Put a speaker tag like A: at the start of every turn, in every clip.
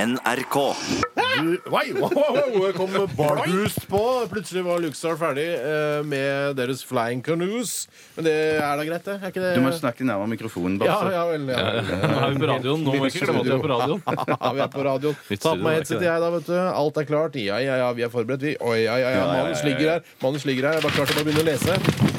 A: NRK.
B: Du, Oi, wow, wow, wow, kom Bardust på. Plutselig var Luxar ferdig eh, med deres Flying Canoes. Men det er da greit, det? Er ikke det?
C: Du må snakke nærmere mikrofonen,
B: ja,
C: Basse.
B: ja vel. Ja.
D: Nå er vi på radioen. Nå må vi ikke glemme at vi er på radioen.
B: vi er på radioen.
D: Nytt
B: Ta
D: studio,
B: på meg
D: det er ikke
B: headsetet, jeg, da, vet du. Alt er klart. Ja, ja, ja, vi er forberedt, vi. Oi, ja, ja, ja. Manus ligger her. Manus ligger her. Jeg er bare klar til å begynne å lese.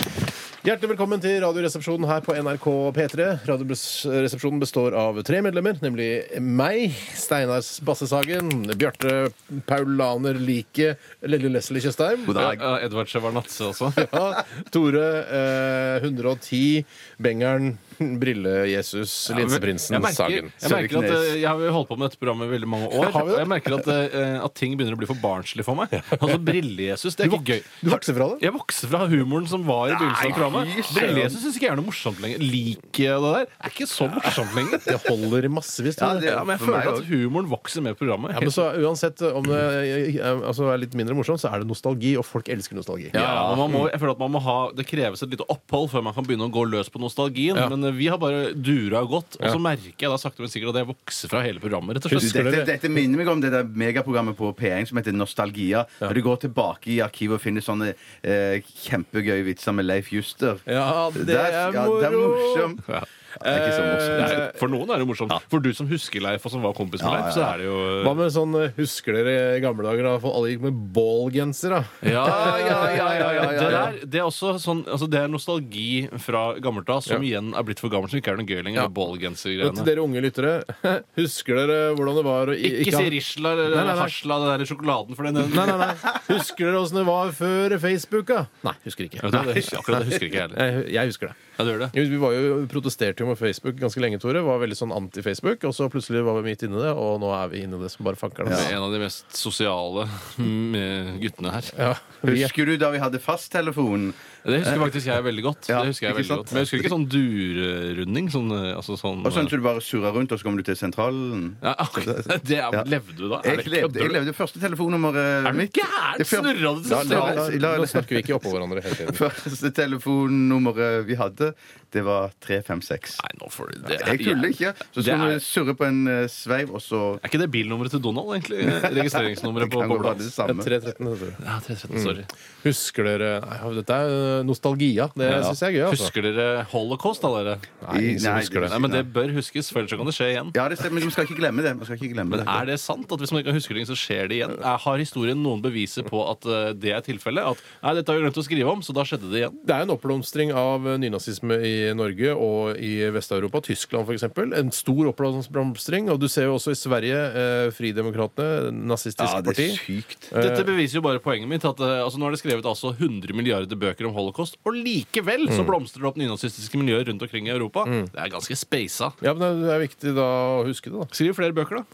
B: Hjertelig velkommen til Radioresepsjonen her på NRK P3. Radioresepsjonen består av tre medlemmer, nemlig meg, Steinar Bassesagen, Bjarte Paulaner Like, Lille Leslie Tjøstheim.
A: God dag.
D: Ja, Edvard Sjevardnadze også.
B: Ja, Tore eh, 110, Bengeren, Brille-Jesus,
D: Jeg
B: Linseprinsen,
D: merker,
B: Sagen.
D: jeg merker at eh, Jeg har jo holdt på med dette programmet i veldig mange år.
B: Har vi det?
D: Og jeg merker at, eh, at ting begynner å bli for barnslig for meg. Altså Brille-Jesus, det er ikke gøy.
B: Du vokser fra det?
D: Jeg vokser fra humoren som var i begynnelsen av programmet. Brille-Jesus syns ikke jeg er noe morsomt lenger. Liket og det der er ikke så morsomt lenger.
B: Det holder i massevis.
C: Ja,
B: Tore.
C: det-
D: Ja, men jeg
C: For meg
D: føler at humoren vokser med programmet.
B: Ja, men så Uansett om det eh, altså, er litt mindre morsomt, så er det nostalgi, og folk elsker nostalgi.
D: Ja, men man må, jeg føler at man må ha, Det kreves et lite opphold før man kan begynne å gå løs på nostalgien.
B: Ja.
D: Men eh, vi har bare dura godt, og så merker jeg da sakte, men sikkert at jeg vokser fra hele programmet. rett og
C: Du,
D: slett.
C: Dette, dette minner meg om det der megaprogrammet på P1 som heter Nostalgia. Og du går tilbake i arkivet og finner sånne eh, kjempegøye vitser med Leif Juster.
B: Ja, det
C: Der-
B: er
C: ja, det er
B: moro.
C: morsomt.
D: Ja.
C: Det er ikke så morsomt.
D: Nei, For noen er det morsomt. For du som husker Leif, og som var kompis med Leif, så er det jo
B: Hva med sånn eh, Husker dere i gamle dager da for alle gikk med ballgenser? da?
D: ja,
C: ja, ja, ja, ja, ja.
D: Det, der, det er også sånn altså Det er nostalgi fra gammelt av, som igjen er blitt for gammelt, som ikke er noe gøy lenger.
B: Ja.
D: Ja.
B: Men Til
D: Ballgensergreiene.
B: dere unge lyttere, husker dere hvordan det var å i-
D: Ikke
B: ha-
D: si Risla
B: Nei, nei,
D: eller
B: nei.
D: Hasla, den der sjokoladen, for den, den
B: Nei, nei, nei. Husker dere åssen det var før Facebook? da? Nei, husker ikke.
D: Vet du, det, akkurat det husker ikke jeg heller.
B: Jeg, jeg husker det.
D: Ja, du gjør det.
B: Jo, Vi var jo, protesterte jo med Facebook ganske lenge, Tore. Var veldig sånn anti-Facebook. Og så plutselig var vi midt inne i det, og nå er vi inne i det som bare fanker
D: Det
B: det.
D: er En av de mest sosiale mm, guttene her.
B: Ja. Vi,
C: Husker du da vi hadde fasttelefonen?
D: Det husker faktisk jeg veldig godt.
C: Ja,
D: det husker jeg
C: ikke
D: veldig
C: sant?
D: godt. Men jeg husker ikke sånn durrunding. Sånn, eh, altså sånn, eh,
C: Og sånn at du bare surrer rundt, og så kommer du til sentralen?
D: ja, akkurat. det er,
C: Ja.
D: Levde du da? Er
C: Jeg
D: det
C: levde, jeg
D: kødder du?
C: levde første telefonnummeret
D: Er du
C: mitt.
D: gæren?
C: Det fyr-
D: Snurra du til
C: La- la-
D: sentralen?
C: la-
B: nå snakker vi ikke oppå hverandre hele tiden.
C: Første telefonnummeret vi hadde, det var 356.
D: Nei, nå får du det.
C: Jeg tuller ikke. Så
D: Det
C: skulle
D: er-
C: vi surre på en eh, sveiv, og så
D: Er ikke det bilnummeret til Donald, egentlig? Registreringsnummeret på
C: kan det være
D: Boblas.
C: det samme.
B: 313, det tror jeg.
D: Ja, 313, sorry.
B: Husker dere Nei, dette er øh, nostalgia. Det
D: Ja.
B: syns jeg er gøy. Altså.
D: Husker dere Holocaust, da, dere?
B: Nei, ingen som
C: Nei,
B: husker det.
D: Nei, men det bør huskes, for ellers så kan det skje igjen.
C: Ja, det stemmer, men man skal ikke glemme det. Man skal ikke glemme
D: Men
C: det.
D: er det sant at hvis man ikke husker ting, så skjer det igjen? Er, har historien noen beviser på at eh, det er tilfellet? At nei, dette har vi glemt å skrive om, så da skjedde det igjen?
B: Det er en oppblomstring av eh, nynazisme i Norge og i Vest-Europa. Tyskland, f.eks. En stor oppblomstring. Og du ser jo også i Sverige eh, Fridemokratene, nazistisk
C: Ja, det
B: parti.
C: er sykt.
D: Dette beviser jo bare poenget mitt. At, eh, altså, nå er det skrevet altså 100 milliarder bøker om holocaust, og likevel så blomstrer det opp nynazistiske miljøer rundt omkring i Europa. Det er ganske speisa.
B: Ja, men Det er viktig da å huske det. da
D: Skriv flere bøker, da.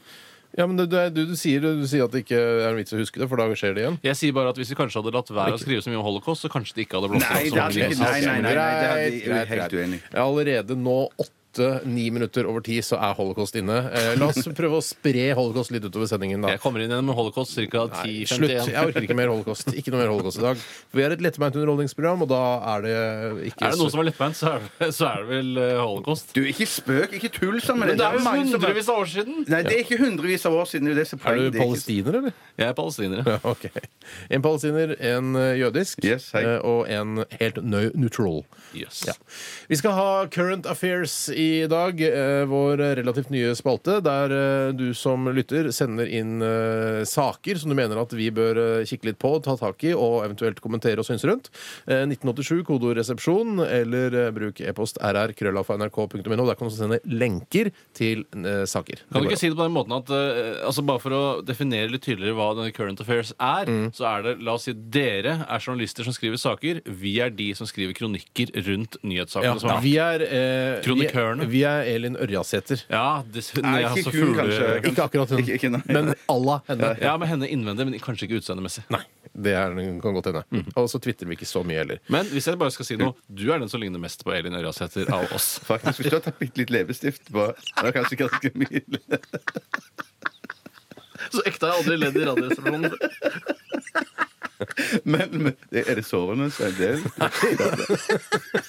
B: Ja, men det, det, er- du, du, sier, du sier at det ikke er en vits å huske det, for da skjer det igjen.
D: Jeg sier bare at Hvis vi kanskje hadde latt være å skrive så mye om holocaust, så kanskje det ikke hadde blomstret
C: Nei, det
D: opp så
C: hadde
D: mye.
C: ikke- nei, nei, nei, nei, det hadde-
B: Greit,
C: jeg er
B: greit,
C: helt
B: greit.
C: uenig.
B: Allerede nå åtte-ni minutter over ti så er holocaust inne. Eh, la oss prøve å spre holocaust litt utover sendingen, da.
D: Jeg kommer inn igjen med holocaust ca.
B: Nei, slutt. Jeg
D: 10.51.
B: orker ikke mer holocaust. Ikke noe mer holocaust i dag. For vi er et lettbeint underholdningsprogram, og da er det eh, ikke
D: Er det noe som er lettbeint, så er det, så er det vel eh, holocaust.
C: Du, ikke spøk, ikke tull sammen.
D: Men det er
C: jo
D: jo
C: mange som-
D: hundrevis av år siden!
C: Nei, det er ikke hundrevis av år siden. Det er, det som
B: Er du
C: poenget, det er ikke-
B: palestiner, eller?
D: Jeg er palestiner.
B: Ja, ok. En palestiner, en eh, jødisk
C: Yes, hei.
B: eh, og en helt nø neutral.
D: Yes.
B: Ja. Vi skal ha Current Affairs i dag, eh, vår relativt nye spalte, der eh, du som lytter sender inn eh, saker som du mener at vi bør eh, kikke litt på, ta tak i og eventuelt kommentere og synse rundt. Eh, 1987, kodeord resepsjon, eller eh, bruk e-post rr.krøllalfa.nrk.no. Der kan du også sende lenker til eh, saker.
D: Kan du ikke si det på den måten at eh, altså Bare for å definere litt tydeligere hva denne current affairs er, så er det La oss si dere er journalister som skriver saker. Vi er de som skriver kronikker rundt nyhetssakene.
B: ja,
D: som er.
B: vi er eh,
D: Kronikørene.
B: Vi, vi er Elin Ørjasæter.
D: Ja, det, altså
C: Nei,
D: jeg har
C: ikke
D: så
C: hun,
D: fugle-
C: kanskje.
B: Ikke akkurat hun,
C: Ikke- ikke, nei.
B: men alla henne.
D: Ja, med henne innvendig, men kanskje ikke utseendemessig.
B: Nei, det er, kan godt hende.
D: Mm.
B: Og så twitterer vi ikke så mye heller.
D: Men hvis jeg bare skal si noe, du er den som ligner mest på Elin Ørjasæter av oss.
C: Faktisk, Hvis du har tatt bitte litt leppestift på Det er kanskje ganske mye.
D: Så ekte har jeg aldri ledd i Radioresepsjonen.
C: Men, men det- er det sårende? Så er det.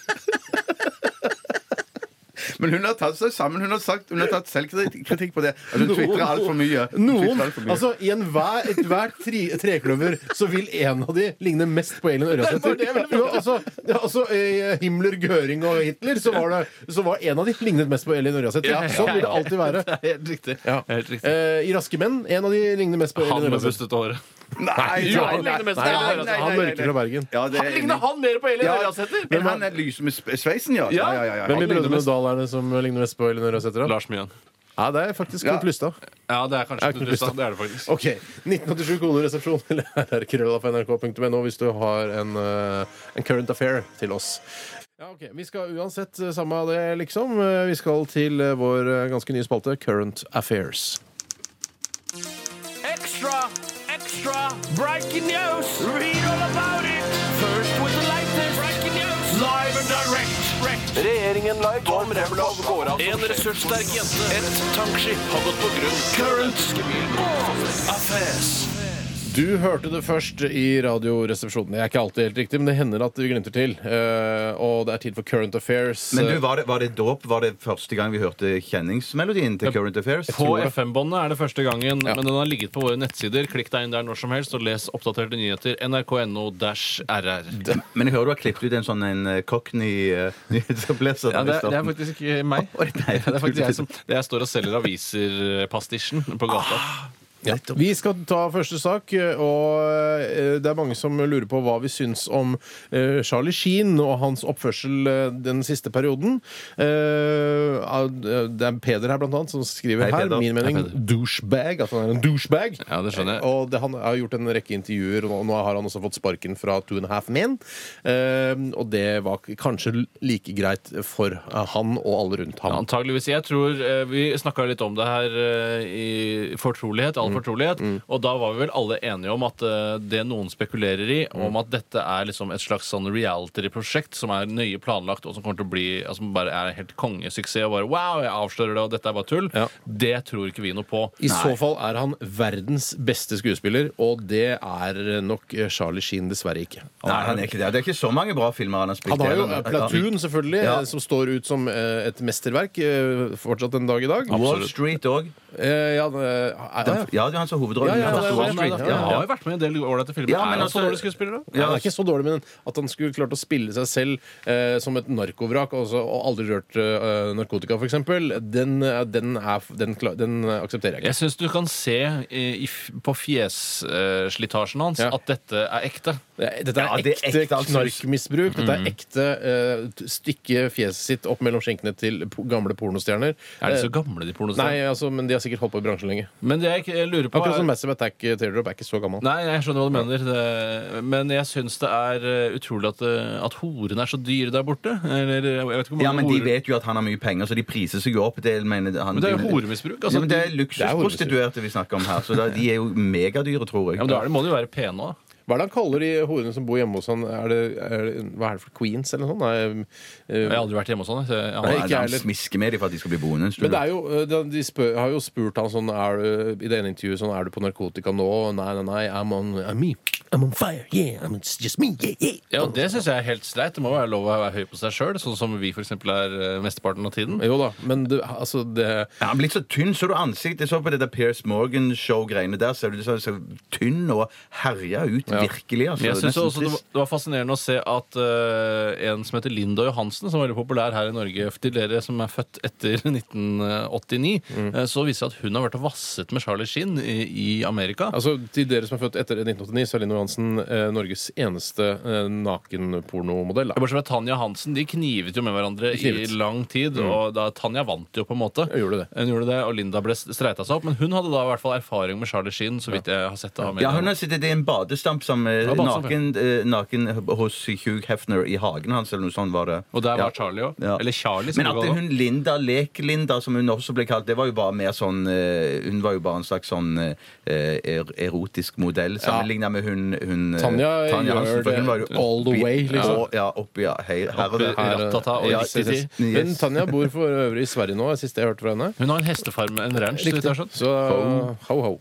C: Men hun har tatt seg sammen. Hun har, sagt, hun har tatt selvkritikk på det. At hun tvitrer altfor mye. Hun
B: Noen,
C: twittrer alt for mye.
B: altså I enhver et hvert tri, trekløver så vil en av de ligne mest på Elin Ørjasæter.
D: Det var det jeg ville
B: Jo, Altså, ja, altså, eh, Himmler, Göring og Hitler, så var, det, så var en av de lignet mest på Elin Ørjasæter. Ja, sånn vil det alltid være.
D: Det er helt riktig.
B: Ja.
D: Helt riktig.
B: Eh, I Raske menn, en av de ligner mest på
D: Han
B: Elin
D: med
B: Ørjasæter.
D: bustete håret.
C: Nei,
D: Jo, han ligner mest på Elin
C: nei,
D: Ørjasæter.
C: nei,
B: Han
C: nei,
B: mørker fra Bergen.
C: Ja, det er enig.
D: Ligner han mer på Elin
C: Ja.
D: Ørjasæter?
C: Men han er lys med sp- sveisen, ja. Ja, ja, ja,
B: Hvem i
C: ja.
D: ligner
B: Brødrene
D: mest-
B: Dal er det som ligner mest på Elin Ørjasæter? da?
D: Lars Mjøen.
B: Ja, det er faktisk
C: Ja.
B: Knut Lystad.
D: Ja, det er kanskje
B: Er ikke
D: Knut Lystad.
B: Lystad.
D: Det er det faktisk.
B: OK. 1987 koderesepsjon eller rrkrøllalfa.nrk.no hvis du har en, eh, en current affair til oss. Ja, ok. Vi skal uansett eh, samme av det, liksom. Eh, Vi skal til eh, vår eh, ganske nye spalte Current Affairs.
A: Extra, extra, breaking news. Read all about it. First with the latest breaking news. Live and direct. Regjeringen live om Remlov går av. En ressurssterk jente. Et tankskip har gått på grunn. Current affairs.
B: Du hørte det først i Radioresepsjonen. Det er ikke alltid helt riktig, men det hender at vi glimter til. Eh, Og det er tid for Current Affairs. eh,
C: Men du, var det, var det dåp? Var det første gang vi hørte kjenningsmelodien til Current Affairs?
D: På FM-båndet er det første gangen,
B: Ja.
D: men den har ligget på våre nettsider. Klikk deg inn der når som helst og les oppdaterte nyheter. nrk.no-rr.
C: Men jeg hører du har klippet ut en sånn en eh, cockney uh, nyhetsoppleser.
D: Ja, det, er- det er faktisk ikke meg.
C: Oi, nei,
D: det er faktisk jeg som det er jeg står og selger aviser-pastisjen på gata.
A: Ah.
B: Ja. Vi skal ta første sak, og eh, det er mange som lurer på hva vi syns om eh, Charlie Sheen og hans oppførsel eh, den siste perioden. Eh, av- Det er Peder her, blant annet, som skriver
C: Hei,
B: her
C: Peder.
B: min mening
D: Hei, Peder.
B: douchebag. At han er en douchebag.
D: Ja, det skjønner jeg.
B: Eh, Og det, han har gjort en rekke intervjuer, og nå har han også fått sparken fra Two and a Half Men. Eh, Og det var k- kanskje like greit for eh, han og alle rundt
D: Ja,
B: ham.
D: antageligvis. Jeg tror eh, Vi snakka litt om det her eh, i fortrolighet,
B: Mm.
D: all fortrolighet, og da var vi vel alle enige om at eh, det noen spekulerer i,
B: Mm.
D: om at dette er liksom et slags sånn reality-prosjekt som er nøye planlagt, og som kommer til å bli altså, som bare er helt kongesuksess, og bare wow, jeg avslører det, og dette er bare tull,
B: Ja.
D: det tror ikke vi noe på.
B: I så fall er han verdens beste skuespiller, og det er nok Charlie Sheen dessverre ikke.
C: Nei, han er ikke det. Det er ikke så mange bra filmer han har spilt
B: Han har jo eh,
C: heller, men-
B: Platoon, selvfølgelig,
C: Ja.
B: eh, som står ut som eh, et mesterverk eh, fortsatt en dag i dag.
C: Wall Street òg.
B: Eh, ja, eh, er- er-
C: Ja, det er han som
B: Ja,
C: hovedrollen.
B: ja,
C: Han
B: det
C: er
B: er
C: Wall
B: det,
C: Street,
B: det er det.
D: Ja,
C: ja.
D: Han har jo vært med i en del ålreite filmer.
C: Ja, men
D: er han så
C: altså-
D: dårlig skuespiller, da?
B: Han er ikke så dårlig, men at han skulle klart å spille seg selv eh, som et narkovrak og, så- og aldri rørt eh, narkotika, f.eks., den, eh, den, er f- den, kla- den eh, aksepterer jeg ikke.
D: Jeg syns du kan se eh, i, f- på fjesslitasjen hans
B: Ja.
D: at dette er ekte.
B: Dette er
C: Ja, det er
B: ekte,
C: ekte, altså.
B: knarkmisbruk. Dette
D: Mm.
B: er ekte eh, t- stykke fjeset sitt opp mellom skjenkene til po gamle pornostjerner.
D: Er de så
B: Eh,
D: gamle, de
B: Nei,
D: pornostjernene?
B: altså, men de har sikkert holdt på i bransjen lenge.
D: Men det jeg ikke- jeg lurer på
B: Akkurat som
D: er
B: Massive Attack eh, Teardrop er ikke så gammel.
D: Nei, jeg skjønner hva du mener. Det, men jeg syns det er eh, utrolig at, eh, at horene er så dyre der borte. Eller jeg vet ikke hvor mange
C: Ja, men De
D: horer-
C: vet jo at han har mye penger, så de priser seg jo opp. Det, mener han,
D: Men det er jo horemisbruk. Altså,
C: ja, men det er
B: det er horemisbruk.
C: luksusprostituerte vi snakker om her, så da, de er jo megadyre, tror jeg.
D: ja, men da er det, må de jo være pene òg.
B: Hva er det han kaller de horene som bor hjemme hos han? Er det, er det, hva er det for Queens eller noe sånt? Nei, eh,
D: Jeg har aldri vært hjemme hos han. jeg, så
C: Nei,
D: jeg- han-
B: ikke jeg
C: han
B: heller.
C: smisker med dem for at de skal bli boende en stund.
B: Men det er jo, eh, de- de spør, har jo spurt han sånn er du, i det ene intervjuet sånn, er du på narkotika nå? Nei, nei, nei, I'm on, I'm me. I'm on fire, yeah, I'm, it's just me, yeah, yeah.
D: Ja, Det syns jeg er helt streit. Det må være lov å være høy på seg sjøl, sånn som vi for eksempel er eh, mesteparten av tiden.
B: Jo da, men det, altså det
C: Ja, han er blitt så tynn. Så du ansiktet? Jeg så på det der Pierce Morgan-show-greiene der. Ser du det så, så tynn og herja ut, virkelig. Altså,
D: Men Jeg synes
C: Nesten
D: også det var,
C: trist.
D: det var fascinerende å se at eh, en som heter Linda Johansen, som var veldig populær her i Norge til dere som er født etter 1989,
C: Mm.
D: eh, så viser det at hun har vært og vasset med Charlie Sheen i, i Amerika.
B: Altså, Til dere som er født etter 1989, så er Linn Johansen eh, Norges eneste eh, nakenpornomodell. da.
D: Bortsett fra Tanja Hansen. De knivet jo med hverandre i
B: knivet.
D: lang tid.
C: Mm.
D: Og da Tanja vant jo, på en måte.
B: Hun gjorde det.
D: Hun gjorde det, Og Linda ble streita seg opp. Men hun hadde da i hvert fall erfaring med Charlie Sheen. Så vidt jeg har sett av
C: Ja, hun har sittet i en badestamp som eh,
D: Ja, badestamp, ja.
C: naken, eh, naken hos Hugh Hefner i hagen hans, eller noe sånt var det.
D: Og der
C: Ja.
D: var Charlie òg.
C: Ja.
D: Eller Charlie, som
C: Men at
D: det
C: det,
D: går
C: hun Linda Lek-Linda, som hun også ble kalt, det var jo bare mer sånn eh, Hun var jo bare en slags sånn eh, er, erotisk modell sammenligna med hun, hun eh,
B: Tanja gjør
C: for
B: det
C: hun var jo
B: all the
C: oppi-
B: way, liksom.
C: og- Ja, oppi ja, hei, her og
D: Oppi-
C: der.
D: her,
C: Ja.
D: ratata og
C: Ja,
D: riktig
C: yes,
D: tid.
C: yes.
B: eh, Men Tanja bor for øvrig i Sverige nå, er det siste jeg hørte fra henne.
D: Hun har en hestefarm, en ranch. så vidt jeg har skjønt.
B: Så ho, ho.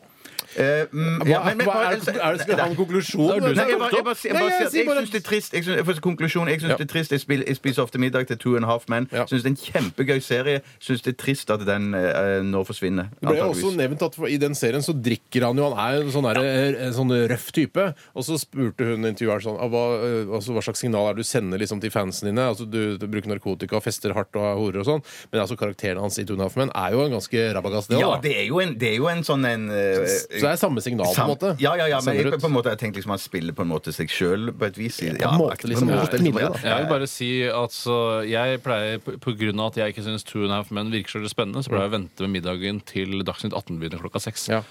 C: Eh, mm,
B: Hva,
C: ja, men- men-
B: hva er, det- er det, skal det ha en konklusjon?
D: Det er du
C: Nei,
B: eller?
C: jeg bare, jeg bare, jeg
B: Nei,
C: bare
B: jeg
C: sier at
B: sier
C: jeg
B: bare-
C: syns det er trist. Jeg synes, for konklusjon, jeg syns
B: Ja.
C: det er trist. Jeg, spil, jeg spiser ofte middag til Two and a Half Men.
B: Ja.
C: Syns det er en kjempegøy serie. Syns det er trist at den eh, nå forsvinner.
B: Det ble jo også
C: antageligvis.
B: nevnt at I den serien så drikker han jo. Han er jo en sånn, der, eh, en sånn røff type. Og så spurte hun intervjueren sånn, «Ah, hva, eh, altså, hva slags signal er det du sender liksom, til fansen dine? Altså, du, du bruker narkotika, fester hardt og er horer og sånn. Men altså, karakteren hans i Tune Half Men er jo en ganske rabagass, det
C: Ja,
B: da.
C: det er jo en, det er jo en sånn en eh,
B: Så det er samme signal, på en
C: Sam-
B: måte.
C: Ja, ja, ja, men
B: Sender
C: jeg,
B: ut.
C: på en måte, jeg tenkte liksom han spiller på en måte seg sjøl på et vis. Ja,
B: en måte,
C: akkurat,
B: liksom, mot et minne, da.
D: Jeg vil bare si at så jeg pleier, på- på grunn av at jeg ikke syns Two and a Half Men virker så veldig spennende, så pleier jeg å vente med middagen til Dagsnytt 18 begynner klokka seks.
B: Ja.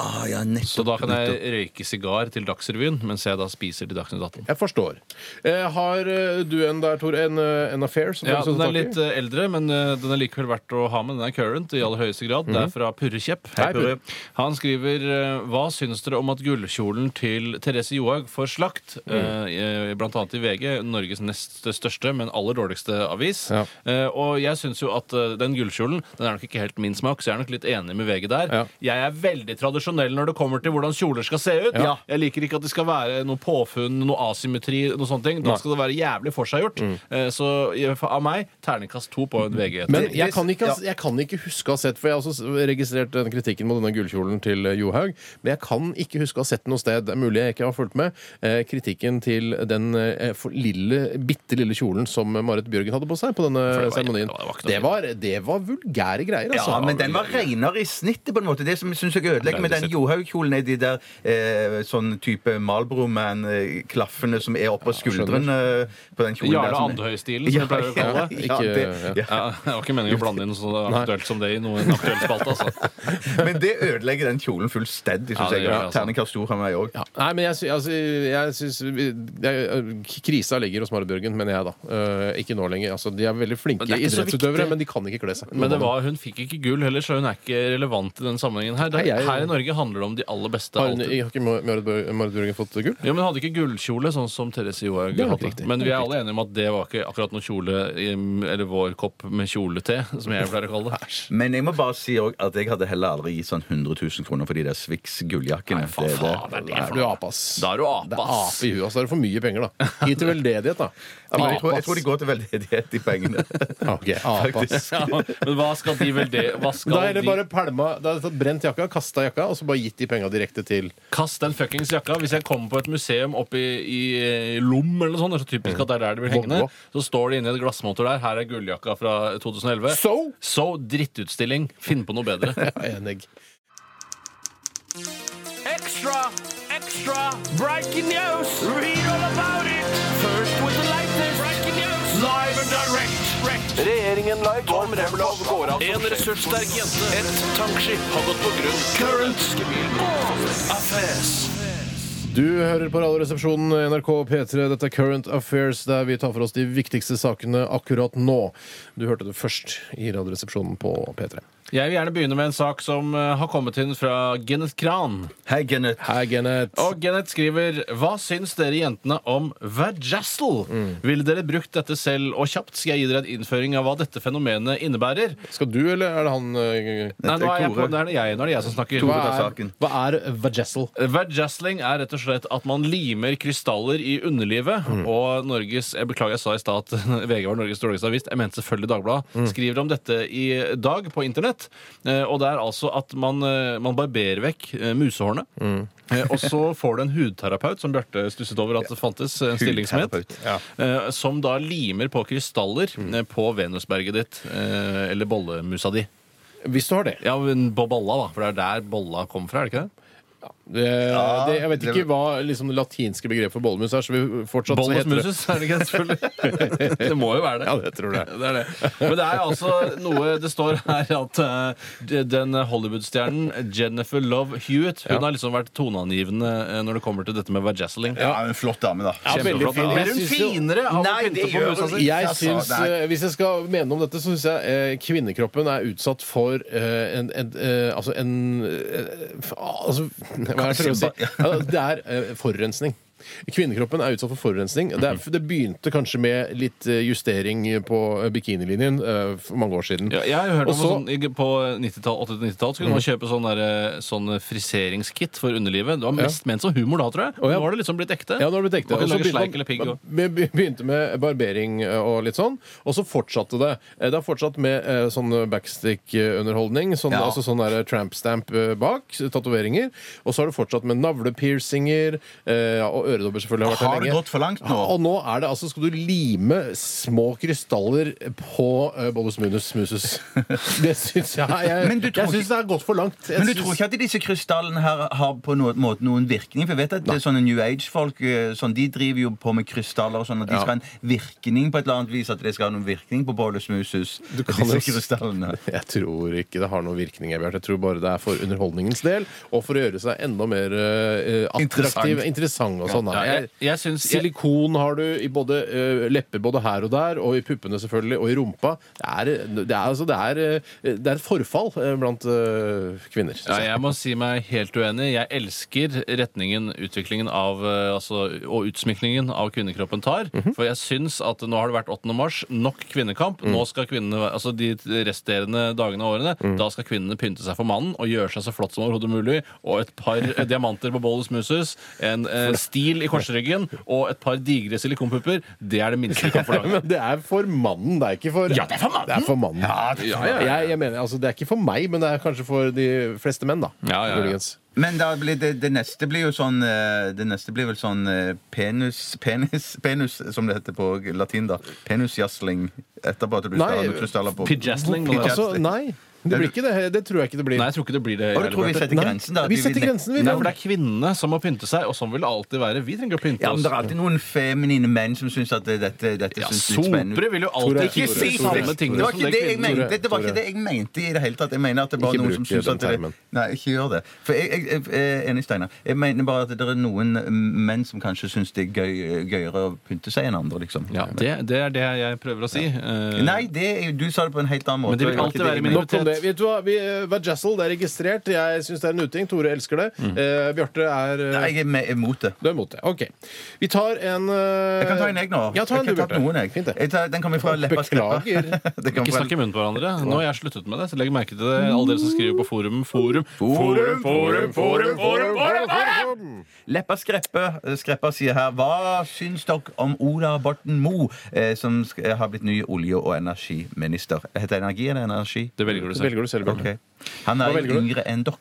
C: Ah, ja, nettopp,
D: Så da kan
C: nettopp.
D: jeg røyke sigar til Dagsrevyen mens jeg da spiser til Dagsnytt 18.
B: Jeg forstår. Eh, har eh, du en der, Tor? En, eh, en affair? Som sånn
D: Ja,
B: du har lyst til å ta
D: Den er
B: tak i?
D: litt eh, eldre, men eh, den er likevel verdt å ha med. Den er current i aller høyeste grad. Det er fra Purre Kjepp.
B: Mhm. Hei, Purre.
D: Han skriver eh, Hva syns dere om at gullkjolen til Therese Johaug får slakt?
B: Mhm.
D: Eh, eh, Blant annet i VG, Norges nest største, men aller dårligste avis.
B: Ja.
D: Eh, Og jeg syns jo at eh, den gullkjolen Den er nok ikke helt min smak, så jeg er nok litt enig med VG der.
B: Ja.
D: Jeg er veldig tradisjonell når det kommer til hvordan kjoler skal se ut.
B: Ja.
D: Jeg liker ikke at det skal være noe påfunn, noe asymmetri, noe sånne ting. Da skal det være jævlig forseggjort.
B: Mm.
D: Eh, Så i- for- av meg terningkast to på en VG.
B: Men
D: Det-
B: jeg kan, ikke, ha- jeg kan ikke huske å ha sett For jeg har også s- registrert den kritikken mot denne gullkjolen til eh, Johaug. Men jeg kan ikke huske å ha sett den noe sted. Det er mulig jeg ikke har fulgt med. Eh, kritikken til den eh, for lille, bitte lille kjolen som Marit Bjørgen hadde på seg på denne
D: det var-
B: seremonien.
D: det var- det var ikke noe
B: Det, var- det var vulgære greier, altså.
C: Ja, men den var renere i snittet, på en måte. Det som synes jeg ødelegger med den Johaug-kjolen, er de der eh, sånn type Malbro-man-klaffene som er oppå skuldrene eh, på den kjolen.
D: Jarle
C: der, som-
D: Andhøy-stilen, som vi pleier å kalle det.
C: Ja,
B: Ikke-
C: det, ja.
D: Ja, det var ikke meningen å blande inn noe så aktuelt som det i noen aktuell spalte. Altså.
C: Men det ødelegger den kjolen fullstendig, syns
D: Ja, det
C: jeg.
D: gjør det, altså.
C: Terningkast stor har jeg òg.
B: Ja. Nei, men jeg, sy- altså, jeg syns vi- jeg- eh, Krisa ligger hos Marit Bjørgen, mener jeg, da. Eh, ikke nå lenger. Altså, de er veldig flinke
D: det er ikke så
B: idrettsutøvere, men de kan ikke kle seg.
D: Men det var, hun fikk ikke gull heller, så hun er ikke relevant i den sammenhengen her. Det,
B: Nei, jeg-
D: her i Norge handler det om de aller beste.
B: har, hun-
D: alltid.
B: har ikke Marit Bjør- Marit Bjørgen fått gull?
D: Ja, men Hadde ikke gullkjole, sånn som Therese Johaug
B: Det er nok
D: hadde.
B: riktig.
D: Men
B: Det
D: vi
B: er
D: er alle enige om at det var ikke akkurat noe kjole em, Eller vår kopp med kjolete, som jeg pleier å kalle det.
C: Men jeg må bare si også at jeg hadde heller aldri gitt sånn 100 000 kroner for de der Swix gulljakkene.
D: Nei, faen,
C: Det var-
D: faen, det
B: Da er du ape, ass.
D: Da er du ape,
B: Det er
D: ass.
B: ape i huet, ass. Da er det for mye penger, da. Gi til veldedighet, da.
C: Ja, men jeg, tror, jeg tror de går til veldedighet, de pengene.
B: Ok, ape, ass.
D: Ja, men hva skal de vel det Hva skal
B: Da er det
D: de
B: bare pælma Da er det brent jakka, kasta jakka, og så bare gitt de penga direkte til
D: Kast den fuckings jakka. Hvis jeg kommer på et museum oppe i, i eh, Lom, eller noe sånt, det er så
B: Mm.
D: typisk at det er der det blir hengende,
B: Volvo.
D: så står det inni et glassmotor der. Her er gulljakka fra 2011.
B: So?
D: so drittutstilling. Finn på noe bedre.
B: Enegg.
A: Extra, extra, breaking news. Read all about it. First with the latest breaking news. Live and direct. Regjeringen live kommer hemmelig av gårde. En ressurssterk jente. Et tankskip har gått på grunn. Current. Affairs.
B: Du hører på Radioresepsjonen, NRK P3. Dette er Current Affairs, der vi tar for oss de viktigste sakene akkurat nå. Du hørte det først i Radioresepsjonen på P3.
D: Jeg vil gjerne begynne med en sak som eh, har kommet inn fra Genneth Kran.
C: Hei, Kenneth.
B: Hei, Kenneth.
D: Og Gennett skriver Hva syns dere jentene om vajazzle?
A: Mm.
D: Ville dere brukt dette selv? Og kjapt skal jeg gi dere en innføring av hva dette fenomenet innebærer.
B: Skal du, eller er det han eh,
D: Nei, nå er, jeg på,
C: Tore.
D: nå er det jeg, nå er det jeg som snakker.
C: Tore
B: Hva
C: tar
B: er,
C: saken.
B: hva er vajazzle?
D: Vajazzling er rett og slett at man limer krystaller i underlivet.
C: Mm.
D: Og Norges Jeg beklager, jeg sa i stad at VG var Norges dårligste avis. Jeg mente selvfølgelig Dagbladet.
C: Mm.
D: Skriver om dette i dag på internett. Eh, Og det er altså at man, eh, man barberer vekk eh, musehårene.
C: Mm.
D: Eh, Og så får du en hudterapeut, som Bjarte stusset over at det fantes. En stilling som het.
C: Hudterapeut, Mm.
D: eh, Som da limer på krystaller eh, på venusberget ditt. eh, Eller bollemusa di.
B: Hvis du har det.
D: Ja, men på bolla, da. For det er der bolla kommer fra, er det ikke det?
B: Det, det, jeg vet ikke hva liksom, det latinske begrepet for bollemus er. Så vi fortsatt så
D: Bollens
B: heter det
D: muses, er det ikke det? Selvfølgelig. Det må jo være det.
B: Ja, det tror jeg.
D: Det er det. Men det er altså noe Det står her at eh, den Hollywood-stjernen Jennifer Love Hewitt Hun har liksom vært toneangivende eh, når det kommer til dette med vajazzling.
C: Ja, en flott dame, da.
B: Ja, veldig
D: Kjempeflott.
B: fin. Jeg
D: Blir hun
B: synes jo-
D: finere av å
C: Nei,
D: pynte
C: det
D: på
C: gjør
D: musa
C: hun
D: si?
B: Jeg
C: Altså,
B: syns,
C: nei.
B: eh, Hvis jeg skal mene om dette, så syns jeg eh, kvinnekroppen er utsatt for eh, en, en eh, Altså en Altså, eh, f- Altså, hva er det jeg prøver å si? Ja, det er eh, forurensning. Kvinnekroppen er utsatt for forurensning. Det, er, det begynte kanskje med litt eh, justering på eh, bikinilinjen eh, for mange år siden.
D: Ja, jeg har hørt om
B: Og så-
D: sånn, i- På 90-tall, 80- 90-tall så kunne man kjøpe sånn, der, sånn friseringskit for underlivet. Det var mest ment som humor da, tror jeg.
B: Å, ja.
D: Nå har det liksom blitt ekte.
B: Ja, nå har det blitt ekte.
D: Man kan
B: Og så
D: lage sleik eller pigg
B: begynte
D: og
B: man- be- begynte med barbering eh, og litt sånn, og så fortsatte det. Eh, Det har fortsatt med eh, sånn backstick-underholdning, sånn,
C: Ja.
B: altså sånn der tramp stamp eh, bak, s- tatoveringer, og så har det fortsatt med navlepiercinger, eh, ja, og øredobber selvfølgelig har vært
C: Har
B: her
C: det
B: lenge.
C: gått for langt nå?
B: Ja, og nå er det altså, skal du lime små krystaller på eh, bollus munus musus. Det syns jeg Jeg,
C: Men du tror
B: jeg syns
C: ikke-
B: det er gått for langt. Jeg
C: Men du
B: syns-
C: tror ikke at disse krystallene her har på noen måte noen virkning? For jeg vet at det er sånne New Age-folk eh, sånn, de driver jo på med krystaller og sånn, at de
B: Ja.
C: skal ha en virkning på et eller annet vis. At det skal ha noen virkning på Bollus Musus.
B: Du kan
C: disse
B: jo s-
C: krystallene.
B: Jeg tror ikke det har noen virkning. Bjarte. Jeg tror bare det er for underholdningens del, og for å gjøre seg enda mer eh, attraktiv,
C: Interessant.
B: interessant og sånn. da.
D: Ja, jeg,
B: Jeg-
D: jeg syns jeg,
B: Silikon har du i både eh, lepper både her og der, og i puppene selvfølgelig, og i rumpa. Det er, det er, altså, det er, eh, det er et forfall eh, blant eh, kvinner. synes
D: ja,
B: jeg.
D: jeg må si meg helt uenig. Jeg elsker retningen utviklingen av, eh, altså, og utsmykningen av kvinnekroppen tar. For jeg syns at nå har det vært 8. mars, nok kvinnekamp. Nå skal kvinnene, være- altså De resterende dagene og årene da skal kvinnene pynte seg for mannen og gjøre seg så flott som overhodet mulig. Og et par eh, diamanter på Bollus Musus, en eh, stil i korsryggen og et par digre silikonpupper. Det er det minste vi kan forlange.
B: Men det er for mannen, det er ikke for
D: Ja, det er for mannen.
B: mannen. Jeg, jeg mener, altså, det er ikke for meg, men det er kanskje for de fleste menn, da.
D: Ja, ja, ja.
B: muligens.
C: Men da blir det, det neste blir jo sånn eh, Det neste blir vel sånn eh, penis Penis, penis som det heter på latin, da. Penusjasling. Etterpå at du
B: Nei,
C: skal ha noen krystaller på.
D: pidjasling, må det være.
B: Altså, nei. Det blir ikke det. Det tror jeg ikke det blir.
D: Nei, jeg tror ikke det blir det.
C: Og du
D: Jarle
C: tror vi
D: Bjarte.
C: setter
B: Nei,
C: grensen, da? at
B: vi
C: vil
B: setter
C: ne-
B: grensen, vi
D: Nei,
B: Ja.
D: for det er kvinnene som må pynte seg, og sånn vil det alltid være. Vi trenger ikke å pynte
C: Ja, men
D: oss.
C: det er alltid noen feminine menn som syns at det- dette, dette
D: Ja,
C: synes litt spennende
D: Sopere vil jo
B: Tore,
D: alltid
C: Ikke
D: ikke si
C: si
B: Tore,
D: samme
C: det! Det
D: ting
C: var
D: som
C: ikke
D: det
C: det jeg
D: kvinnen.
C: mente Det var ikke det jeg mente i det hele tatt. Jeg mener at det var
B: Ikke
C: noen
B: bruk
C: som syns
B: den
C: at det
B: termen.
C: Nei, ikke gjør det. For jeg, jeg, jeg, er enig, Steinar. Jeg mener bare at det er noen eh, menn som kanskje syns det er gøy, gøyere å pynte seg enn andre, liksom.
D: Ja, det, det er det jeg prøver å si. Eh,
C: Nei, det, er- du sa det på en helt annen måte.
D: Men det vil
C: var
D: alltid
C: ikke
D: være
C: jeg
D: min-
C: mente.
B: Nok om det. Vet du hva? Vi, eh, Vajazzle, det er registrert. Jeg syns det er en uting. Tore elsker det. Eh, Bjarte er eh,
C: Mm. Nei, jeg er med, imot det.
B: Du er imot det. OK. Vi tar en eh,
C: Jeg kan ta en jeg nå.
B: Ja, ta en
C: jeg
B: du,
C: kan ta
B: Bjarte.
C: noen, jeg.
B: Fint, det.
C: jeg tar, den kommer fra Leppa Skreppa.
B: Beklager.
C: Den kommer
D: Ikke
C: fra-
D: snakk i munnen på hverandre. Nå har jeg sluttet med det. så Legg merke til det, alle dere som skriver på forum. Forum, forum, forum, forum, forum, forum.
C: Leppa Skreppe, Skreppa sier her Hva syns dere om Ola Borten Moe, eh, som sk- har blitt ny olje- og energiminister? Heter det energi eller energi?
D: Det velger du
B: Så
D: selv.
B: velger du selv, Bjarte.
C: Ok. Han er
B: Hva
C: jo
B: velger du?
C: yngre enn dere.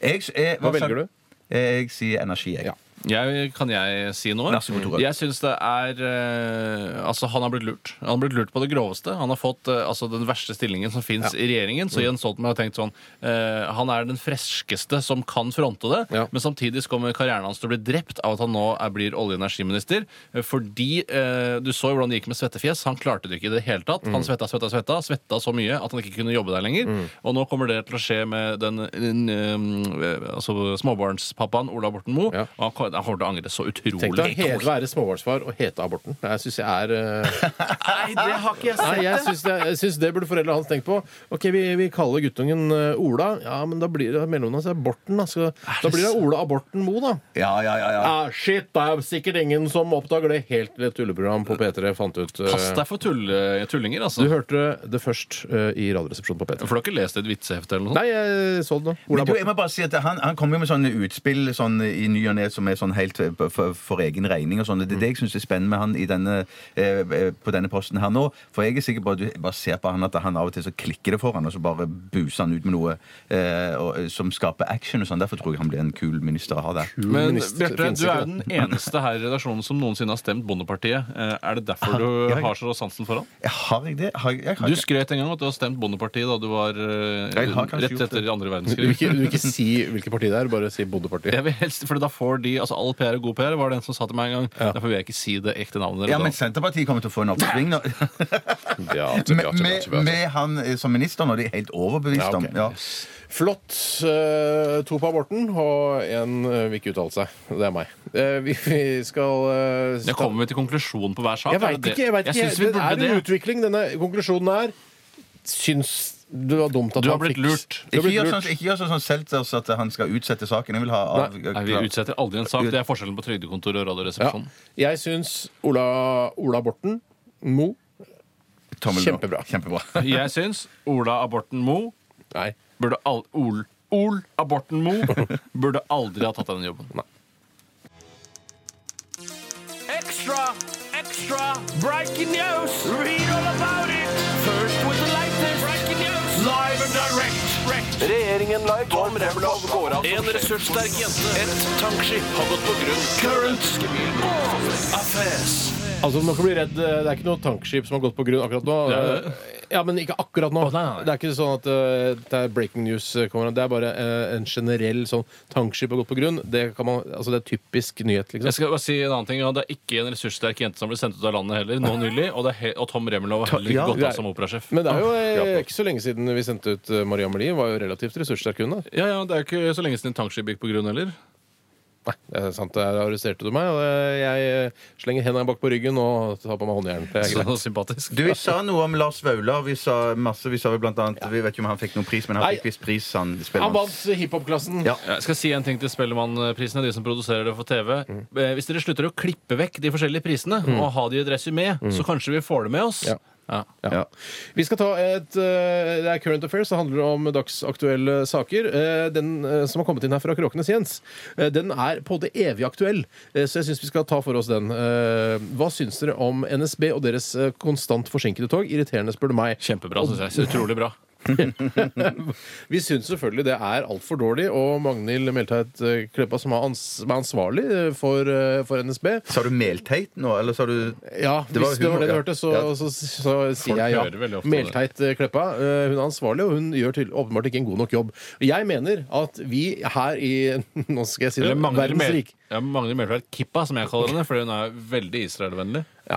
C: Jeg, s- eh,
B: Hva
C: sa-
B: velger du?
C: Eh, Jeg sier energi, jeg.
B: Ja.
D: Jeg, kan jeg si noe?
C: Vær så god, Tore.
D: Jeg syns det er eh, Altså, han har blitt lurt. Han har blitt lurt på det groveste. Han har fått eh, altså, den verste stillingen som fins i regjeringen.
B: Mm.
D: Så Jens Stoltenberg har tenkt sånn eh, Han er den freskeste som kan fronte det,
B: Ja.
D: men samtidig så kommer karrieren hans til å bli drept av at han nå er, blir olje- og energiminister. eh, Fordi eh, Du så jo hvordan det gikk med svettefjes. Han klarte det ikke i det hele tatt.
B: Mm.
D: Han svetta, svetta, svetta. Svetta så mye at han ikke kunne jobbe der lenger. Og nå kommer det til å skje med den, den eh, altså, småbarnspappaen Ola Borten Moe.
B: Ja.
D: Og han kom- han kommer til å angre så utrolig.
B: Tenk deg å he- være småbarnsfar og hete aborten. Det syns jeg er eh,
D: Nei, det har ikke jeg
B: Nei, jeg syns det, jeg synes det burde foreldrene hans tenkt på. OK, vi, vi kaller guttungen eh, Ola. Ja, men da blir det mellomnavnet hans er Borten. Da, Så- da blir det Ola Aborten Moe, da.
C: Ja, ja, ja, ja.
B: Ah, shit, det er sikkert ingen som oppdager det helt til et tulleprogram på P3 fant ut. eh,
D: Pass deg for tull, tullinger,
B: Du
D: altså.
B: hørte det først eh, i Radioresepsjonen på P3.
D: For du har ikke lest et vitsehefte eller noe sånt?
B: Nei, jeg så det nå.
C: Men
B: Ola
C: du,
B: Borten.
C: jeg må bare si at Han, han kommer jo med sånne utspill sånn, i ny og ne som er sånn helt for, for, for egen regning. og sånn. Det er det jeg syns er spennende med han i denne, eh, eh, på denne posten her nå. For jeg er sikker på at du bare ser på han at han av og til så klikker det for han, og så bare buser han ut med noe eh, og, som skaper action og sånn. Derfor tror jeg han blir en kul minister å ha der.
D: Men
B: Minister
D: Bjarte,
B: finnes
D: du
B: ikke,
D: er
B: det.
D: den eneste her i redaksjonen som noensinne har stemt Bondepartiet. Eh, Er det derfor
C: ja,
D: du
C: ja.
D: har så sansen for han?
C: Har jeg det? Har jeg, jeg har
D: Du
C: ikke-
D: skrøt en gang at du har stemt Bondepartiet da du var eh,
C: Jeg har kanskje
D: rett
C: gjort
D: etter
B: Du
D: andre
B: vil
D: verdenskrig.
B: ikke, du vil ikke si hvilket parti det er, bare si Bondepartiet.
D: Jeg vil helst, for da får de, altså All PR er god PR, var det en som sa til meg en gang. Derfor vil jeg ikke si det ekte navnet.
C: ja,
D: deres
C: men
D: da.
C: Senterpartiet kommer til å få en oppsving nå.
B: Ja,
C: Med, med, med han eh, som minister nå. Det er jeg helt overbevist
B: Ja, ok.
C: om. Ja.
B: Flott. eh, to på aborten, og én vil ikke uttale seg. Det er meg. Eh, vi, vi skal eh,
D: Jeg
B: sta-
D: kommer vi til konklusjonen på hver sak?
B: Jeg
D: Er det
B: veit
D: det?
B: ikke. Jeg vet ikke.
D: Jeg syns vi
B: det
D: burde
B: er en
D: det.
B: utvikling. Denne konklusjonen er Syns Det var dumt at
D: Du har
B: han
D: blitt
B: fikk-
D: lurt.
B: Du har
C: Ikke
B: blitt
C: gjør
B: lurt.
C: sånn, ikke gjør sånn som Seltzers at han skal utsette saken. Jeg vil ha av,
D: Nei, vi utsetter aldri en sak. Det er forskjellen på Trygdekontoret og Radioresepsjonen.
B: Ja. Jeg syns Ola, Ola Borten Mo
C: Tommel nå.
B: Kjempebra.
C: Kjempebra.
D: Jeg syns Ola Aborten Moe
B: Nei.
D: burde al Ol Ol Aborten Moe burde aldri ha tatt den jobben.
A: Extra, extra, breaking news. Read all about it. First with the latest breaking news. Live and direct. Regjeringen live. Tom Remlov går av. En ressurssterk jente. Et tankskip har gått på grunn. Current affairs.
B: Altså, man kan bli redd. Det er ikke noe tankskip som har gått på grunn akkurat nå. Eh,
D: Det er
B: Ja, men ikke akkurat nå.
D: Å, nei, nei.
B: Det er ikke sånn at eh, det er breaking news. eh, kommer. Det er bare eh, en generell sånn tankskip har gått på grunn. Det, kan man, altså, det er typisk nyhet, liksom.
D: Jeg skal bare si en annen ting ja, Det er ikke en ressurssterk jente som ble sendt ut av landet heller, nå nylig. Og, det er he og Tom Remlov har heller ikke
B: Ja,
D: gått
B: det
D: av
B: er-
D: som operasjef.
B: Men det er jo eh, ikke så lenge siden vi sendte ut eh, Maria Melin. Var jo relativt ressurssterk hun, da.
D: Ja, ja, Det er jo ikke så lenge siden tankskip gikk på grunn heller.
B: Nei, det er sant. Der arresterte du meg. Og eh, jeg eh, slenger hendene bak på ryggen og tar på meg håndjern. Det er
D: Så
B: greit.
D: sympatisk.
C: Du, Vi sa noe om Lars Vaular. Vi sa masse. Vi sa vel blant annet Vi vet ikke om han fikk noen pris, men han
B: Nei.
C: fikk visst pris, han
B: Han
C: spiller.
B: vant hiphop-klassen.
C: Ja.
D: Ja, Jeg skal si en ting til Spellemannprisene, de som produserer det for TV. Eh, Hvis dere slutter å klippe vekk de forskjellige prisene og ha de i et resymé, så kanskje vi får det med oss.
B: Ja.
D: Mm. Ja.
B: Ja. Vi skal ta et eh, Det er Current Affairs. Det handler om dagsaktuelle saker. Eh, Den eh, som har kommet inn her fra Kråkenes Jens, eh, den er på det evig aktuell. Eh, Så jeg syns vi skal ta for oss den. Eh, Hva syns dere om NSB og deres eh, konstant forsinkede tog? Irriterende, spør du meg.
D: Kjempebra, syns jeg. Så Utrolig bra.
B: Vi syns selvfølgelig det er altfor dårlig, og Magnhild Melteit eh, Kleppa, som er ans- som er ansvarlig eh, for, eh, for NSB
C: Sa du Melteit nå, eller sa du
B: Ja,
C: Det var
B: hvis det var det
C: humor,
B: du
C: ja.
B: hørte, så,
C: Ja.
B: så, så, sier jeg
D: hører
B: ja.
D: veldig ofte om det.
B: Melteit eh, Kleppa. eh, Hun er ansvarlig, og hun gjør til, åpenbart ikke en god nok jobb. Jeg mener at vi her i Nå skal jeg si det.
D: Eller Magnhild
B: Verdens
D: Mel-
B: rik.
D: ja, Magnhild Meltveit Kippa, som jeg kaller henne, fordi hun er veldig Israel-vennlig.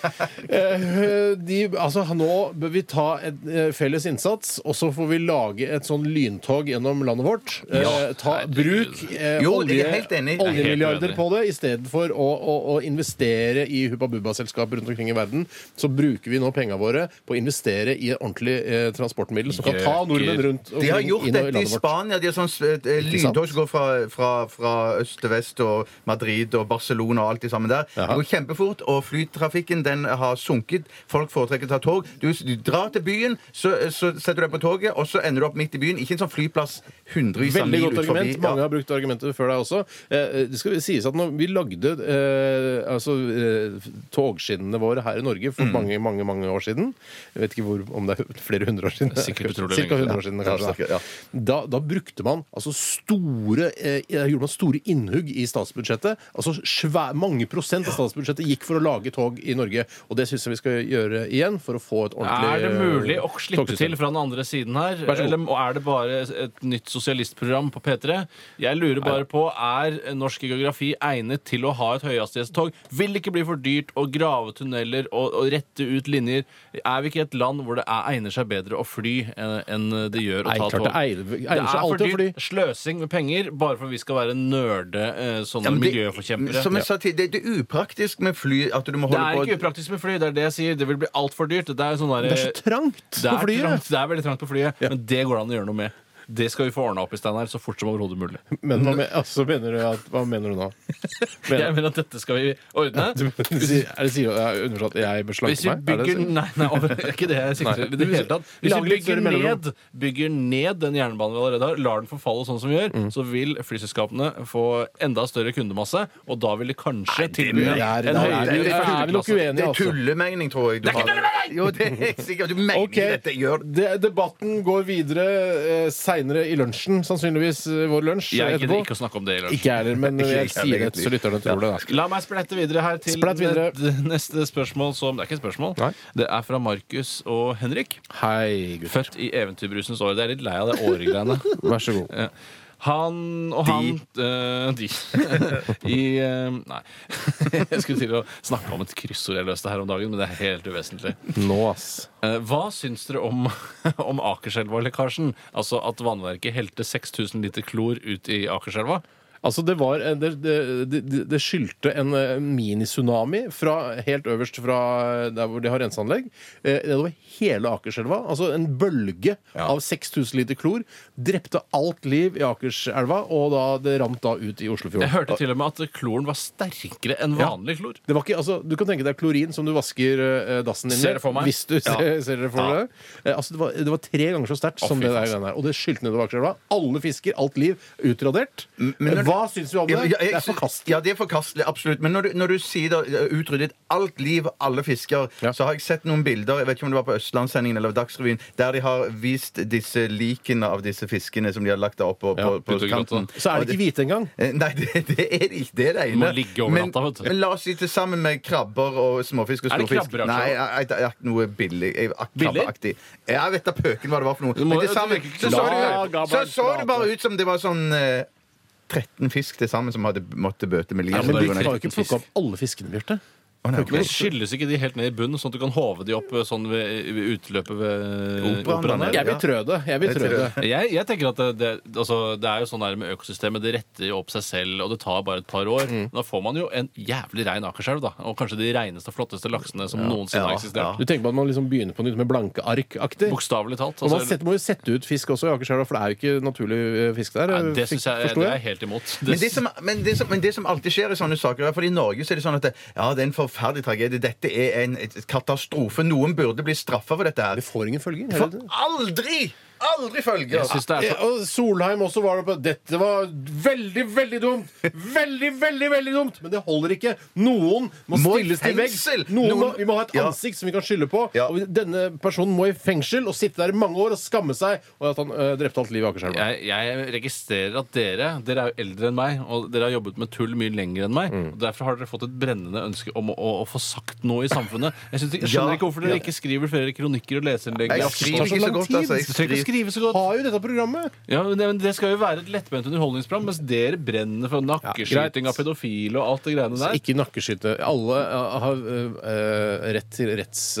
B: Eh, De, altså, nå bør vi ta en eh, felles innsats, og så får vi lage et sånn lyntog gjennom landet vårt. Eh,
D: Ja,
B: ta,
D: herregud.
B: bruk eh,
C: Jo, jeg
B: olje,
C: er helt enig.
D: Jeg er
B: oljemilliarder
D: helt
B: på det istedenfor å, å, å investere i Hubba Bubba-selskaper rundt omkring i verden. Så bruker vi nå penga våre på å investere i et ordentlig eh, transportmiddel som kan ta
D: Gjøker.
B: nordmenn rundt
C: De har
B: omkring
C: gjort
B: inn og i
C: dette i
B: landet vårt.
C: Spania. De har sånn eh, lyntog som går fra, fra, fra øst til vest og Madrid og Barcelona og alt det sammen der. Det går kjempefort, og flytrafikken den har sunket. Folk foretrekker å ta tog. Du, du drar til byen, så, eh, så setter du deg på toget, og så ender du opp midt i byen. Ikke en sånn flyplass hundrevis
D: Sånn,
C: av
B: Veldig
C: mil
B: godt
C: ut forbi.
B: argument. Mange har brukt argumentet før deg også. Eh, eh, det skal sies at når vi lagde eh, altså, eh, togskinnene våre her i Norge
D: Mm.
B: for mange, mange mange år siden Jeg vet ikke hvor, om det er flere hundre år siden.
D: Sikkert utrolig
B: Cirka
D: lenge
B: 100 år siden, kanskje.
C: sikkert, ja.
B: da, da brukte man altså store eh, da gjorde man store innhugg i statsbudsjettet. altså svær, Mange prosent av statsbudsjettet gikk for å lage tog i Norge. Og det syns jeg vi skal gjøre igjen for å få et ordentlig
D: Er det mulig å
B: eh,
D: slippe
B: togsystem.
D: til fra den andre siden her?
B: så god.
D: Eller og er det bare et nytt sosialistprogram på P3? Jeg lurer bare på er norsk geografi egnet til å ha et høyhastighetstog? Vil det ikke bli for dyrt å grave tunneler og, og rette ut linjer? Er vi ikke et land hvor det er, egner seg bedre å fly enn enn det gjør å
B: Nei,
D: ta
B: klart det
D: tog?
B: egner- egner
D: det
B: seg
D: er
B: alltid
D: for
B: å
D: dyrt. Sløsing med penger bare for at vi skal være nerde eh, sånne
C: Ja, men det-
D: miljøforkjempere.
C: Som jeg sa tidligere, det, det er upraktisk med fly at du må
D: det
C: holde
D: er
C: på
D: ikke upraktisk med fly. Det er det jeg sier. Det vil bli altfor dyrt. Det er, sånn der,
B: Det er så trangt
D: det
B: på
D: er
B: flyet!
D: trangt, det er veldig trangt på flyet, men det går det an å gjøre noe med. Det skal vi få ordna opp i, Steinar, så fort som overhodet mulig.
B: Men hva, men, altså, mener du at, hva mener du nå?
D: Jeg mener at dette skal vi
B: Du,
D: ordne.
B: sier- er det sier, jeg underforstått jeg bør
D: Hvis
B: slanke
D: vi
B: meg? Er det
D: bygger
B: det du sier?
D: Nei, nei, det er ikke det jeg sikter til. i det hele tatt. Hvis
B: Lag
D: vi
B: litt
D: bygger
B: større mellomrom.
D: ned, bygger ned den jernbanen vi allerede har, lar den forfalle sånn som vi
B: Mm.
D: gjør, så vil flyselskapene få enda større kundemasse, og da vil de kanskje tilby
B: Det er,
D: en en
B: der
D: høyere
B: er, vi- der er vi nok
D: flyklasse.
B: uenige,
C: Det er
B: altså.
C: tullemening, tror jeg. Du
D: Det er ikke
C: har. Jo, det er sikkert. Du mener
B: Ok,
C: dette. Gjør
B: det, Debatten går videre eh, seinere i lunsjen, sannsynligvis eh, vår lunsj
D: Jeg gidder
B: etterpå.
D: ikke å snakke om det i lunsj.
B: Ikke jeg heller, men eh,
C: Ikke
B: jeg
C: jeg
B: sier det
C: egentlig.
B: så lytterne tror det. Da.
D: La meg splette videre her til
B: Splett videre.
D: det neste spørsmål som Det er ikke et spørsmål.
B: Nei.
D: Det er fra Markus og Henrik.
B: Hei, gutt.
D: Født i eventyrbrusens år. Det er litt lei av det åregreiene.
B: Vær så god.
D: Ja. Han og han eh, De. I eh, Nei. Jeg skulle til å snakke om et kryssord jeg løste her om dagen, men det er helt uvesentlig.
B: Nå, ass.
D: Eh, Hva syns dere om, om Akerselva-lekkasjen? Altså at vannverket helte 6000 liter klor ut i Akerselva?
B: Altså, det var en- Det, det, det, det skyldte en eh, mini-tsunami fra helt øverst fra der hvor de har renseanlegg. eh, Nedover hele Akerselva. Altså en bølge av 6000 liter klor drepte alt liv i Akerselva, og da det rant da ut i
D: Jeg
B: Oslofjorden.
D: hørte til og med at kloren var sterkere enn vanlig klor.
B: Det var ikke, altså, du kan tenke deg klorin som du vasker eh, dassen din
D: Ser det for meg.
B: Hvis du ser,
D: Ja.
B: ser det for
D: Ja.
B: deg. Eh, altså, det, var, det var tre ganger så sterkt som
D: fy
B: det der
D: faen.
B: greiene her. Og det skyldte nedover Akerselva. Alle fisker, alt liv, utradert.
C: men
B: Eh,
C: når-
B: Hva syns vi om det?
C: Ja, ja,
B: det
C: jeg-
B: er forkastelig.
C: Ja, det er forkastelig, absolutt. Men når du, når du sier da, eh, utryddet alt liv, alle fisker,
B: Ja.
C: så har jeg sett noen bilder jeg vet ikke om det var på Østlandssendingen eller Dagsrevyen, der de har vist disse likene av disse fiskene som de har lagt da opp på,
B: Ja,
C: på, på
D: ute og grått,
C: kanten.
B: Så er det ikke hvite engang.
C: Eh, Nei, det, det er det ikke. Det er det ene.
D: må ligge over natta, vet du.
C: Men la oss si til sammen med krabber og småfisk og
D: Er det
C: storfisk.
D: krabber, altså?
C: Nei, jeg- jeg- jeg- noe billig. jeg- ak-
D: Billig?
C: Krabbeaktig. Jeg vet da pøken hva det var for noe.
D: må-
C: Men til sammen
D: du-
C: så så,
B: La
C: det, så
B: gammel
C: så det bare ut som det var sånn eh, 13 fisk til sammen som hadde måttet bøte med
B: Ja,
C: livet.
B: men
D: det
B: du
D: er
B: kan
D: jo
B: jo ikke plukke opp alle fiskene, Bjarte.
C: Å, nei, ok.
D: Men Skyldes ikke de helt ned i bunnen, sånn at du kan håve de opp eh, sånn ved, ved utløpet ved
C: Operaen,
D: operaen?
C: da,
D: her?
B: Jeg vil trø det. Jeg vil
C: Jeg
B: trø
C: tror
B: det.
C: det.
D: Jeg, jeg tenker at det, det, altså, det er jo sånn der med økosystemet. Det retter jo opp seg selv, og det tar bare et par år.
C: Mm.
D: Da får man jo en jævlig rein akerselv, da. Og kanskje de reineste og flotteste laksene som noensinne
C: Ja,
D: har
B: Du
D: eksistert.
B: tenker på at man liksom begynner på nytt med blanke ark-aktig?
D: Bokstavelig talt.
B: Og man
D: Altså,
B: setter, må jo sette ut fisk også i Akerselva, for det er jo ikke naturlig eh, fisk der.
D: nei, det
B: fikk-
D: syns jeg
B: forstår
D: det er jeg helt imot.
C: Men det, som, men, det som, men det som alltid skjer i sånne saker, i hvert fall i Norge, så er det sånn at det, ja, det er en forferdelig tragedie. Dette er en katastrofe. Noen burde bli straffa for dette her.
B: Det får ingen følger.
C: For
B: gjør det?
C: aldri! Aldri følger!
D: jeg synes det er
B: Ja,
D: så
B: og Solheim også var det på Dette var veldig, veldig dumt! Veldig, veldig veldig dumt! Men det holder ikke. Noen må,
C: Må i
B: stilles til veggs.
C: fengsel!
B: Noen må,
C: Noen-
B: vi må ha et
C: Ja.
B: ansikt som vi kan skylde på.
C: Ja.
B: Og denne personen må i fengsel og sitte der i mange år og skamme seg over at han øh, drepte alt livet i Akerselva.
D: jeg, jeg registrerer at dere dere er jo eldre enn meg, og dere har jobbet med tull mye lenger enn meg.
C: Mm.
D: og Derfor har dere fått et brennende ønske om å, å, å få sagt noe i samfunnet. Jeg, synes, jeg skjønner
C: Ja,
D: ikke hvorfor dere
C: ja.
D: ikke skriver flere kronikker og leserinnlegg. i
C: Jeg
D: Aftenposten.
C: skriver ikke så godt, altså. Jeg
D: Du trenger ikke å
C: skriver.
D: skrive så godt.
B: Har jo dette programmet!
D: Ja, men det, men det skal jo være et lettbent underholdningsprogram, mens dere brenner for
B: greit.
D: nakkeskyting av pedofile og alt det greiene der.
B: Ikke nakkeskyte. Alle øh, har øh, øh, rett til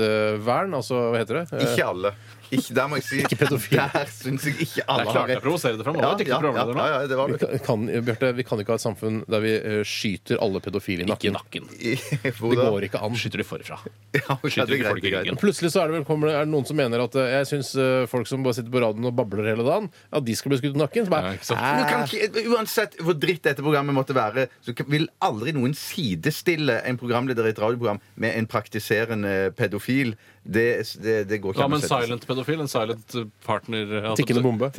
B: rettsvern, altså hva heter det?
D: Eh,
B: Øh,
C: Ikke alle. Ikke, der må jeg si Der syns jeg ikke alle
D: Der
C: har
D: klarte jeg å provosere det fram. Det var et dyktig programleder nå.
C: ja, ja, det var
B: Eh, vi
C: du.
B: kan, kan, Bjarte, vi kan ikke ha et samfunn der vi øh, skyter alle pedofile i
D: Ikke i
B: nakken.
D: nakken.
C: Hvor
B: Det
C: da?
B: går ikke an.
D: Skyter de forfra.
C: Ja, ok,
D: Skyter
C: det er
D: ikke folk i
C: greit.
D: ryggen.
B: Plutselig så er det, vel, kommer, det- er det noen som mener at eh, jeg syns folk som bare sitter på radioen og babler hele dagen, at de skal bli skutt i nakken. Så
D: Ja,
B: bare,
D: ikke sant?
B: "Æ,
C: Men du kan ikke, uansett hvor dritt dette programmet måtte være, så kan- vil aldri noen sidestille en programleder i et radioprogram med en praktiserende pedofil. Det, det, det går ikke
D: Ja,
C: an å
D: men
C: sette seg-
D: silent pedofil, en silent partner altså,
B: tikkende bombe.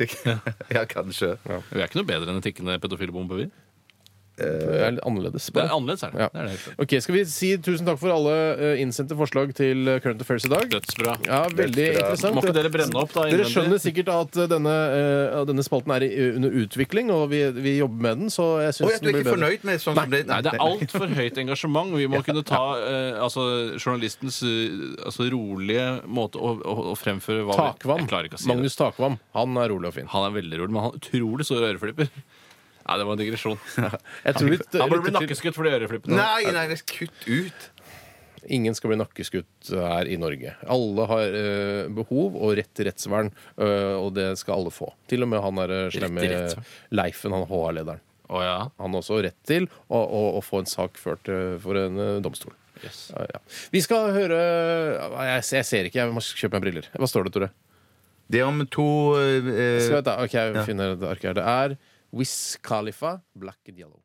C: Ja, kanskje.
D: Vi er ikke noe bedre enn en tikkende pedofilbombe, vi.
B: Det er litt annerledes.
D: Det
B: Bare.
D: er annerledes, er det.
B: Ja.
D: det, er det helt klart.
B: Ok, Skal vi si tusen takk for alle eh, innsendte forslag til eh, Current Affairs i dag?
D: Dødsbra.
B: Ja, Veldig interessant.
D: Må ikke dere brenne opp, da?
B: Dere
D: innvendig?
B: skjønner sikkert at eh, denne, eh, at denne spalten er i, under utvikling, og vi, vi jobber med den, så jeg
C: Og
B: syns
C: at
B: den
C: du er
B: blir
C: ikke
B: bedre.
C: fornøyd med sånn som det
D: Nei, det er altfor høyt engasjement. Vi må kunne ta eh, altså, journalistens eh, altså, rolige måte å, å, å fremføre hva vi-
B: Takvam.
D: Jeg klarer ikke å si det.
B: Magnus Takvam. Han er rolig og fin.
D: Han er veldig rolig, men han har utrolig store øreflipper. Nei, det var en digresjon.
B: Jeg tror litt,
D: Han burde bli
B: lytter til-
D: nakkeskutt for de øreflippene.
C: Nei, nei, det er kutt ut.
B: Ingen skal bli nakkeskutt eh, her i Norge. Alle har eh, behov og rett til rettsvern, eh, og det skal alle få. Til og med han derre slemme
D: til rettsvern.
B: Leifen, han HR-lederen.
D: Å ja.
B: Han har også rett til å, å, å få en sak ført eh, for en eh, domstol. Eh,
D: Yes.
B: Ja, ja. Vi skal høre jeg, jeg ser ikke, jeg må kjøpe meg briller. Hva står det, Tore?
C: Det er om to eh,
B: Skal jeg, ta- ok, jeg finner et ark her. Det er Wiz Khalifa, Black and Yellow.